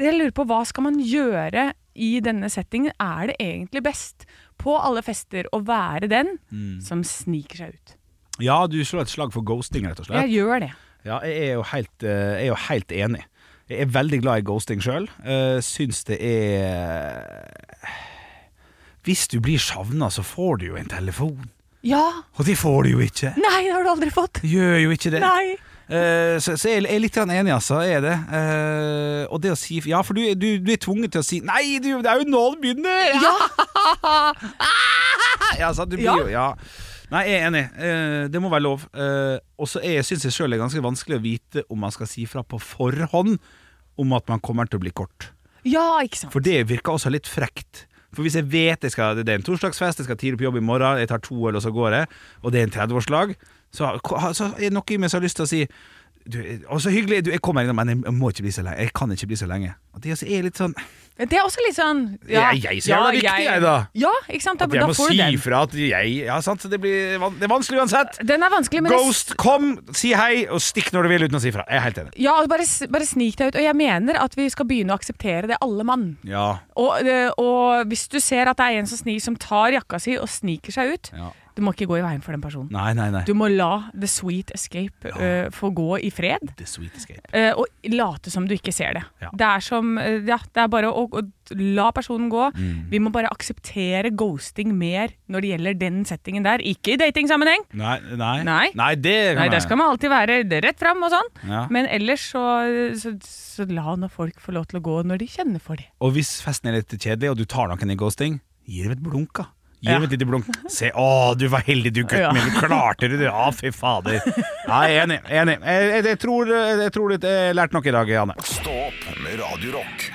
jeg lurer på hva skal man gjøre i denne settingen? Er det egentlig best på alle fester å være den Mm. som sniker seg ut? ja, du slår et slag for ghosting, rett og slett. Jeg gjør det. Ja, jeg er jo helt, eh, jeg er jo helt enig. Jeg er veldig glad i ghosting sjøl. Syns det er Hvis du blir savna, så får du jo en telefon. Ja! Og det får du jo ikke. Nei, det har du aldri fått! Det gjør jo ikke det. Nei! Eh, Så, så jeg jeg er litt grann enig, altså. Jeg er det. Eh, og det å si Ja, for du, du, du er tvunget til å si Nei, du, det er jo nå det begynner! Ja! ja, sant, du blir Ja. jo Ja. Nei, jeg er enig. Eh, det må være lov. Eh, og så er- syns jeg sjøl det er ganske vanskelig å vite om man skal si fra på forhånd om at man kommer til å bli kort. Ja, ikke sant. For det virker også litt frekt. For hvis jeg vet jeg skal, det er en torsdagsfest, jeg skal tidlig på jobb i morgen, jeg tar to øl, og så går jeg, og det er en 30-årslag, så, så er det noe i meg som har lyst til å si du, og så hyggelig, du, jeg kommer innom, men jeg må ikke bli så lenge. Jeg kan ikke bli så lenge. Og det også er litt sånn Det er også litt sånn Jeg- jeg ser det er viktig, jeg, da. Ja, ikke sant? Da, At jeg da må får du si den. fra at jeg Ja, sant, det, blir, van- det er vanskelig uansett. Den er vanskelig, men det- Ghost, kom, si hei, og stikk når du vil uten å si fra. Jeg er helt enig. Ja, bare, s- bare snik deg ut. Og jeg mener at vi skal begynne å akseptere det, alle mann. Ja. Og, eh, og hvis du ser at det er en som, sni, som tar jakka si og sniker seg ut, Ja. du må ikke gå i veien for den personen. Nei, nei, nei. Du må la the sweet escape eh, få gå i fred, The sweet escape. eh, og late som du ikke ser det. Ja. Det er som eh, Ja, det er bare å, å la personen gå. Mm. Vi må bare akseptere ghosting mer når det gjelder den settingen der. Ikke i datingsammenheng. Nei, nei. Nei. det kan Nei, der jeg- skal man alltid være rett fram og sånn. Ja. Men ellers så, så, så la nå folk få lov til å gå når de kjenner for det. Og hvis festen er litt kjedelig, og du tar noen i ghosting, gi dem et blunk, da. Gi Ja. dem et lite blunk. Se, å, du var heldig, du gutten Ja. min. Du klarte det, du. Ja, fy fader. Ja, jeg er enig. Jeg, er enig. jeg, jeg, jeg tror, jeg tror det- jeg har lært noe i dag, Janne. Stå opp med Radio Rock.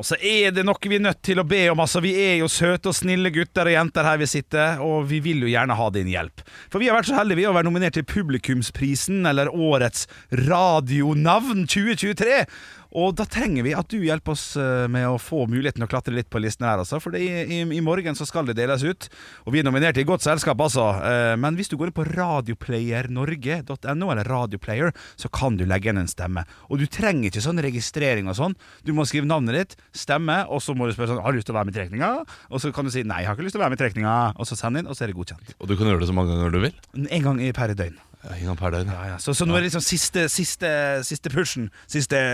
Og så er det noe vi er nødt til å be om. Altså, vi er jo søte og snille gutter og jenter her vi sitter, og vi vil jo gjerne ha din hjelp. For vi har vært så heldige vi å være nominert til Publikumsprisen, eller Årets radionavn 2023. Og da trenger vi at du hjelper oss eh, med å få muligheten å klatre litt på listen her, altså. For det, er- i, i morgen så skal det deles ut. Og vi er nominert i godt selskap, altså. Eh, Men hvis du går inn på radioplayernorge.no, eller Radioplayer, så kan du legge inn en stemme. Og du trenger ikke sånn registrering og sånn. Du må skrive navnet ditt, stemme, og så må du spørre sånn Har du lyst til å være med i trekninga? Og så kan du si nei, jeg har ikke lyst til å være med i trekninga. Og så send inn, og så er det godkjent. Og du kan gjøre det så mange ganger du vil. En gang i per døgn. Ja, en gang per døgn. Ja, ja. Så, så nå er det liksom siste, siste, siste pushen. Siste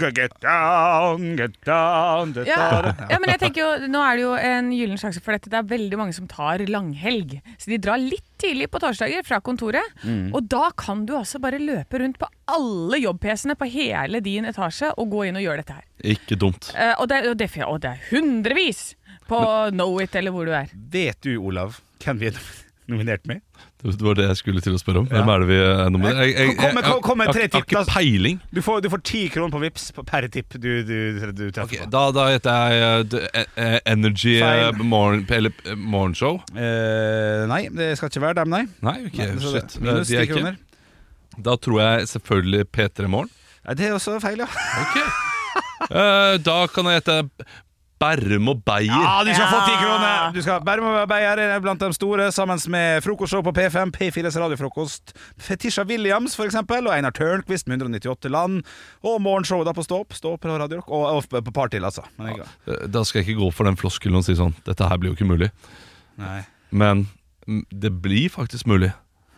Get down, get down get Ja. down. ja, men jeg tenker jo, Nå er det jo en gyllen sjanse for dette. Det er veldig mange som tar langhelg. Så de drar litt tidlig på torsdager fra kontoret. Mm. Og da kan du altså bare løpe rundt på alle jobb-PC-ene på hele din etasje og gå inn og gjøre dette her. Ikke dumt. Eh, og, det, er- og, det, og det er hundrevis på Knowit eller hvor du er. Vet du, Olav, hvem vi er nominert med? Det var det jeg skulle til å spørre om. Hvem er det vi er nominerer? Jeg- jeg- Kom- kom- jeg- kom med jeg- tre jeg- jeg har tipp, da. Ikke peiling. Du får, du får 10 kroner på Vips på- per tipp du, du, du treffer Ok, på. Da, da heter jeg eh, d- eh, eh, Energy eh, Feil. morgen, eller, eh, Morgenshow. Eh, nei, det skal ikke være dem, nei. Nei, ok, Nei, så det- shit. Minus De 10 er ikke- kroner. Da tror jeg selvfølgelig P3 Morgen. Nei, det er også feil, ja. Ok. Eh, da kan jeg hete Bærum og Beyer. du skal få 10 kroner! Du skal Bærum og Beyer er eh, blant de store, sammen med frokostshow på P5, P4s radiofrokost, Fetisha Williams for eksempel, og Einar Tørnquist med 198 land, og morgenshow da på Stå opp, Stå opp på Radio Rock, og, og på Partil, altså. Men jeg, Eh, Da skal jeg ikke gå for den floskelen og si sånn Dette her blir jo ikke mulig. nei. Men mm, det blir faktisk mulig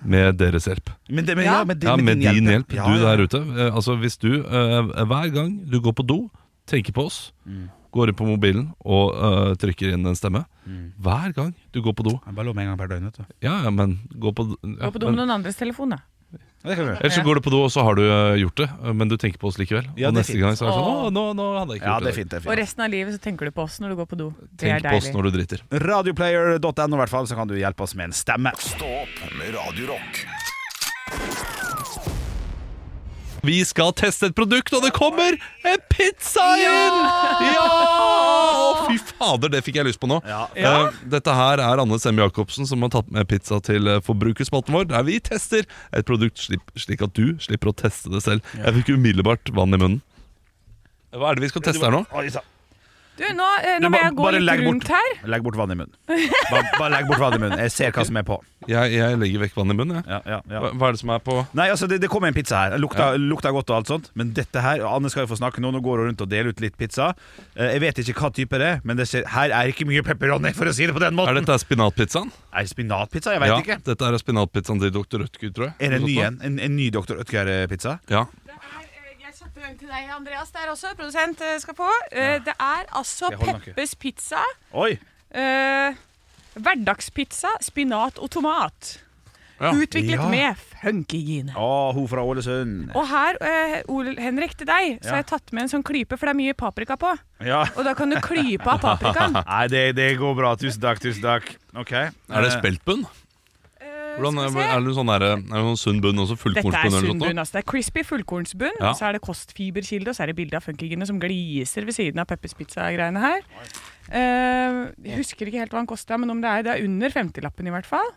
med deres hjelp. Men det, men, ja, men det, Ja, med din hjelp, Ja, du ja. der ute. Eh, Altså Hvis du eh, hver gang du går på do, tenker på oss, Mm. går inn på mobilen og eh, trykker inn en stemme Mm. Hver gang du går på do. Jeg bare lov med en gang per døgn, vet du. Ja, ja, men gå på, ja, Gå på do med men, noen andres telefon, da. Det kan du gjøre. Ellers så går du på do, og så har du eh, gjort det, eh, men du tenker på oss likevel. Ja, og det er neste fint. gang så er det sånn Åh. Å, nå, nå hadde jeg ikke Ja, gjort det det. er fint, det Og er fint. resten av livet så tenker du på oss når du går på do. Det er Tenk på oss deilig. når du driter. Radioplayer.no i hvert fall, så kan du hjelpe oss med en stemme. Stå opp med Radio Rock. Vi skal teste et produkt, og det kommer en pizza inn! Ja! Å, Fy fader, det fikk jeg lyst på nå. Eh, Dette her er Anne Semme Jacobsen som har tatt med pizza til eh, forbrukerspalten vår, der vi tester et produkt slik, slik at du slipper å teste det selv. Jeg fikk umiddelbart vann i munnen. Hva er det vi skal teste her nå? Oi, sa- Du, nå, eh, Du ba- nå må jeg gå bare legg litt bort- rundt her. Legg bort vann i munnen. Bare, bare legg bort vann i munnen. Jeg ser hva som er på. Jeg, jeg legger vekk vann i munnen, jeg. Ja, ja, ja. Hva, hva er det som er på Nei, altså det, det kom en pizza her. Lukta, lukta godt og alt sånt. Men dette her og Anne skal jo få snakke nå. Nå går hun rundt og deler ut litt pizza. Eh, Jeg vet ikke hva type det er, men det ser, her er ikke mye pepperoni, for å si det på den Er måten. Er det, dette spinatpizzaen? spinatpizza? Jeg vet ja, ikke. dette er spinatpizzaen til dr. Rødtgut, tror jeg. Er det en ny en? En, en ny Dr. Ødgeir-pizza? Ja. eh, Jeg kjøpte en til deg, Andreas, der også. Produsent eh, skal få. Eh, Det er altså Jeg holder nok. Peppes pizza. Oi! eh, hverdagspizza, spinat og tomat. Ja. Utviklet Ja. med funkygine. Å, hun fra Ålesund. Og her, eh, Ole Henrik, til deg, så Ja. har jeg tatt med en sånn klype, for det er mye paprika på. Ja. Og da kan du klype av paprikaen. Nei, det, det går bra. Tusen takk, tusen takk. Ok. Er Eh. det speltbunn? Eh, Hvordan, skal er, vi se. er det sånn, der, er det sånn sunn bunn Dette også? er Fullkornsbunn eller sunn noe? bunn. Altså. Det er crispy fullkornsbunn, Ja. og så er det kostfiberkilde, og så er det bilde av funkygene som gliser ved siden av Peppers Pizza-greiene her. Eh, jeg husker ikke helt hva den kosta, men om det er, det er under 50-lappen i hvert fall.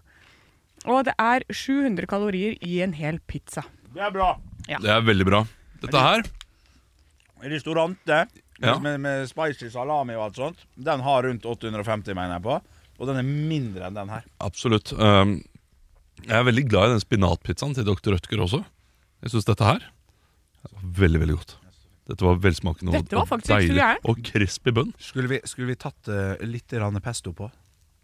Og det er 700 kalorier i en hel pizza. Det er bra. altså. Det er veldig bra. Dette her Ristorante Ja. med, med spicy salami og alt sånt, den har rundt 850, mener jeg på. Og den er mindre enn den her. Absolutt. Um, jeg er veldig glad i den spinatpizzaen til dr. Rødtger også. Jeg syns dette her var veldig, veldig godt. Dette var velsmakende og- Dette var og faktisk ikke så gærent. Og crispy bunn. Skulle vi, skulle vi tatt eh, litt rann pesto på?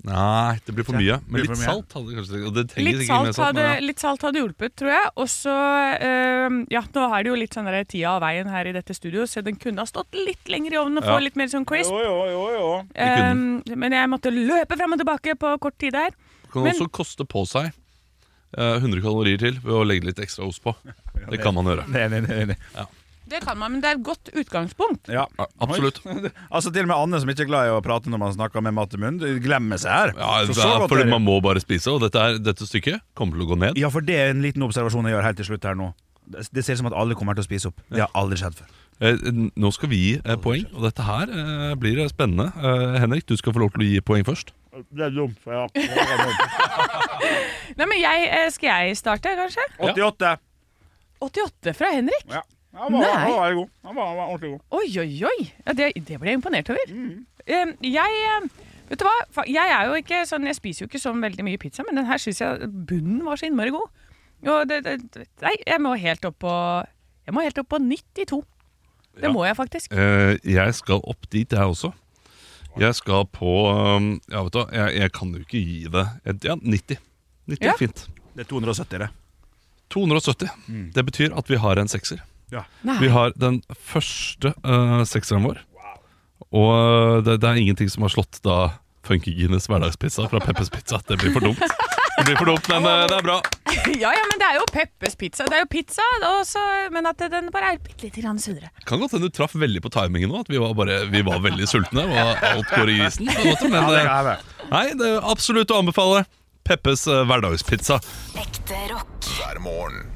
Nei, det blir for mye. Men Blir for mye. litt salt hadde det kanskje og det trenger Litt sikkert mer sånn, salt, men hadde, ja. litt salt hadde hjulpet, tror jeg. Og så eh, Ja, nå er det jo litt sånn der tida av veien her i dette studio, så den kunne ha stått litt lenger i ovnen og Ja. få litt mer sånn crisp. jo, jo, jo. kunne Eh, men jeg måtte løpe fram og tilbake på kort tid der. Det kan Men- også koste på seg eh, 100 kalorier til ved å legge litt ekstra ost på. Det kan man gjøre. Nei, nei, nei, nei. Det kan man, men det er et godt utgangspunkt. Ja. Absolutt. Altså Til og med Anne, som ikke er glad i å prate når man snakker med mat i munnen, du glemmer seg her. Ja, Så det så er godt fordi er det. man må bare spise, og dette, er, dette stykket kommer til å gå ned. ja, for det er en liten observasjon jeg gjør helt til slutt her nå. Det det ser ut som at alle kommer til å spise opp. Det har aldri skjedd før. Eh, Nå skal vi gi eh, poeng, og dette her eh, blir spennende. Eh, Henrik, du skal få lov til å gi poeng først. Det er dumt, ja. Nei, men jeg, eh, Skal jeg starte, kanskje? 88. 88 fra Henrik. Ja. Han var, Nei. han var veldig god. Han var, han var ordentlig god. Oi, oi, oi! Ja, det, det ble jeg imponert over. Eh, jeg eh, Vet du hva? Fa- Jeg er jo ikke sånn Jeg spiser jo ikke så veldig mye pizza, men den her syns jeg bunnen var så innmari god. Og det, det, nei, jeg må helt opp på Jeg må helt opp på 92. Det Ja. må jeg faktisk. Eh, jeg skal opp dit, jeg også. Jeg skal på um, Ja, vet du hva, jeg, jeg kan jo ikke gi det et- Ja, 90. 90 Ja. er fint. Det er 270, det. 270. Det betyr at vi har en sekser. Nei. Vi har den første eh, sekseren vår. Og eh, det, det er ingenting som har slått da Funkygines hverdagspizza fra Peppers Pizza. Det blir for dumt. Det blir for dumt, men eh, det er bra. Ja, ja, men det er jo Peppers pizza. Det er jo pizza, og så- men at den bare er bitte lite grann sunnere. Kan godt hende du traff veldig på timingen nå. At vi var, bare, vi var veldig sultne, og alt går i grisen. På en måte, men eh, nei, det er absolutt å anbefale. Peppes eh, hverdagspizza. Ekte rock. hver morgen.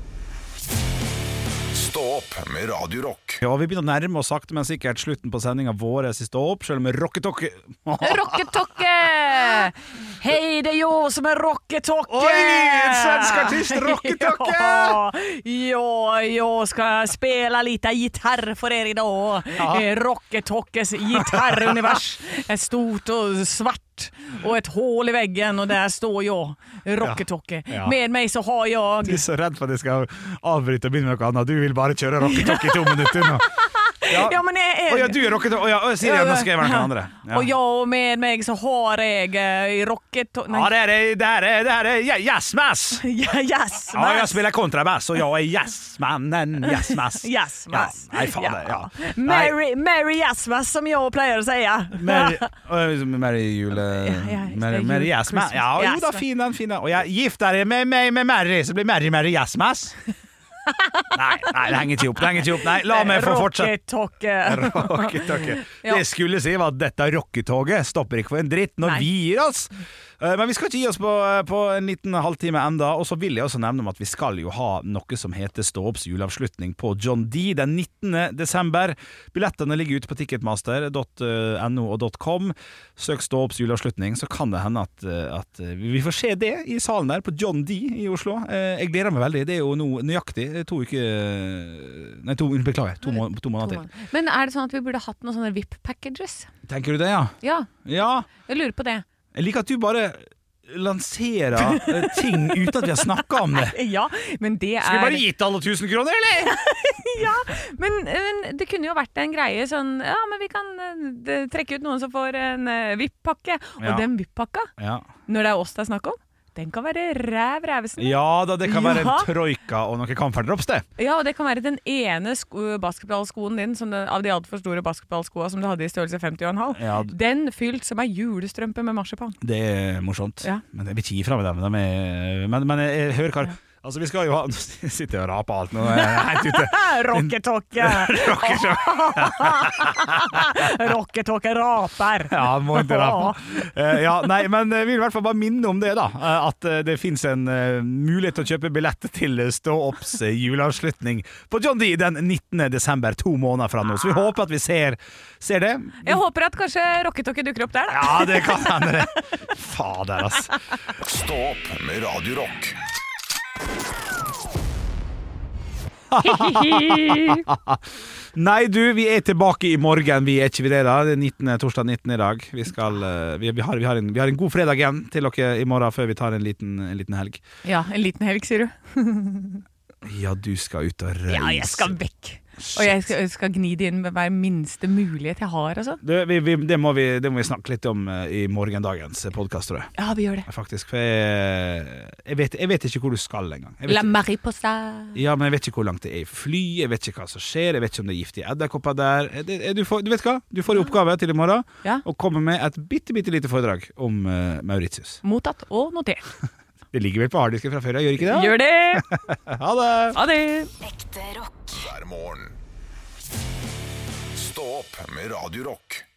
Stå opp med Radio Rock. Ja, vi begynner å nærme oss sakte, men sikkert slutten på sendinga vår siste opp, selv om rocketokke Rocketokke! Hei, det er jo som er rocketokke! Oi, en svensk artist, rocketokke! Ja, ja, jag ska spela lite gitarr för er idag. Eh, Rocketokkes gitarrunivers. Ett stort och svart och ett hål i väggen och där står jag, Rocketocke. Ja. Med mig så har jag... Du er så redd for at jeg skal avbryte og begynne med noe annet. Du vil bare kjøre rocketokke i to minutter nå. Ja, men är- är- Å ja, du er rocketokke. Å ja, å, Siri, nå skal jeg være den andre. Och jag med mig så har jag eh, Rocketocke... Ja, det er det er, det er ja, Yes, mass! Ja, yes, Ja, jeg mass. spiller kontrabass, og jeg er yes-mannen. Yes-mass. Yes, mass. Ja, nei, fader. Ja. Nei, Merry, merry Jasmas som jag plejer att säga. Mary, Oi, Mary liksom, jule... ja, det er Mary, jul, Mary Jasmas. Christmas. Ja, jo da, Jasmas. fin den, fin den. Og jeg gifter jeg med meg med Mary, så blir Mary Mary Jasmas. Nei, nei, det henger ikke opp. Det henger ikke opp. Nei, la meg få fortsette. Rocketocke. Rocketoget. Ja. Det jeg skulle si var at dette rocketoget stopper ikke for en dritt når Nei. vi gir oss. Eh, Men vi skal ikke gi oss på, eh, på en liten halvtime enda Og så vil jeg også nevne om at vi skal jo ha noe som heter Ståops juleavslutning på John D den 19. desember. Billettene ligger ute på ticketmaster.no og .com. Søk Ståops juleavslutning, så kan det hende at, eh, at vi får se det i salen der på John D i Oslo. Eh, Jeg gleder meg veldig. Det er jo nå nøyaktig eh, to uker Nei, to, beklager. To, må, to måneder til. Men er det sånn at vi burde hatt noen sånne VIP-packages? Tenker du det, ja? Ja, Ja. jeg lurer på det. Jeg liker at du bare lanserer eh, ting uten at vi har snakka om det. Ja, men det er Skulle bare gitt alle 1000 kroner, eller? men, men det kunne jo vært en greie sånn Ja, men vi kan eh, de- trekke ut noen som får en eh, VIP-pakke. Ja. Og den VIP-pakka, Ja. når det er oss det er snakk om, den kan være ræv rævesen. Ja. da, det kan være Ja. en troika og noen kamferdrops, det. og det kan være den ene sko basketballskoen din som den, av de altfor store basketballskoa som du hadde i størrelse 50,5. Ja. Den fylt som ei julestrømpe med marsipan. Det er morsomt. Ja. Men jeg vil ikke gi fra meg dem. dem er, men, men jeg, jeg hører hva Altså, vi skal jo ha Nå sitter jeg og raper alt, nå er jeg helt ute. Rocketokke! Rocketokke raper! Ja, må ikke rape. Eh, ja, nei, men jeg vil i hvert fall bare minne om det, da. eh, At eh, det fins en eh, mulighet til å kjøpe billett til eh, Stå opps eh, juleavslutning på John D den 19. desember, to måneder fra nå. Så vi håper at vi ser, ser det. Jeg håper at kanskje rocketokke dukker opp der, da. Ja, det kan hende, det. Fader, altså. Stå opp med Radio Rock. Nei, du, vi er tilbake i morgen. Vi er ikke vi det, da. Det er 19, torsdag 19 i dag. Vi, skal, eh, vi, vi, har, vi, har en, vi har en god fredag igjen til dere i morgen før vi tar en liten, en liten helg. Ja, en liten helg, sier du. Ja, du skal ut og reise. Ja, jeg skal vekk. Og jeg skal, jeg skal gni det inn med hver minste mulighet jeg har, altså. Det, vi, vi, det, må vi, det må vi snakke litt om eh, i morgendagens podkast, tror jeg. Ja, vi gjør det. Faktisk, for jeg, jeg, vet, jeg vet ikke hvor du skal engang. Jeg La vet- marie posta. Ja, men jeg vet ikke hvor langt det er i fly, jeg vet ikke hva som skjer, jeg vet ikke om det er giftige edderkopper der. Eh, det- eh, Du, får, du vet hva? Du får i oppgave til i morgen Ja. å komme med et bitte, bitte lite foredrag om eh, Mauritius. Mottatt og notert. Det ligger vel på harddisken fra før, ja, gjør ikke det? Gjør det! Ha det! Ha det! Ekte rock. hver morgen. Stå opp med Radio Rock.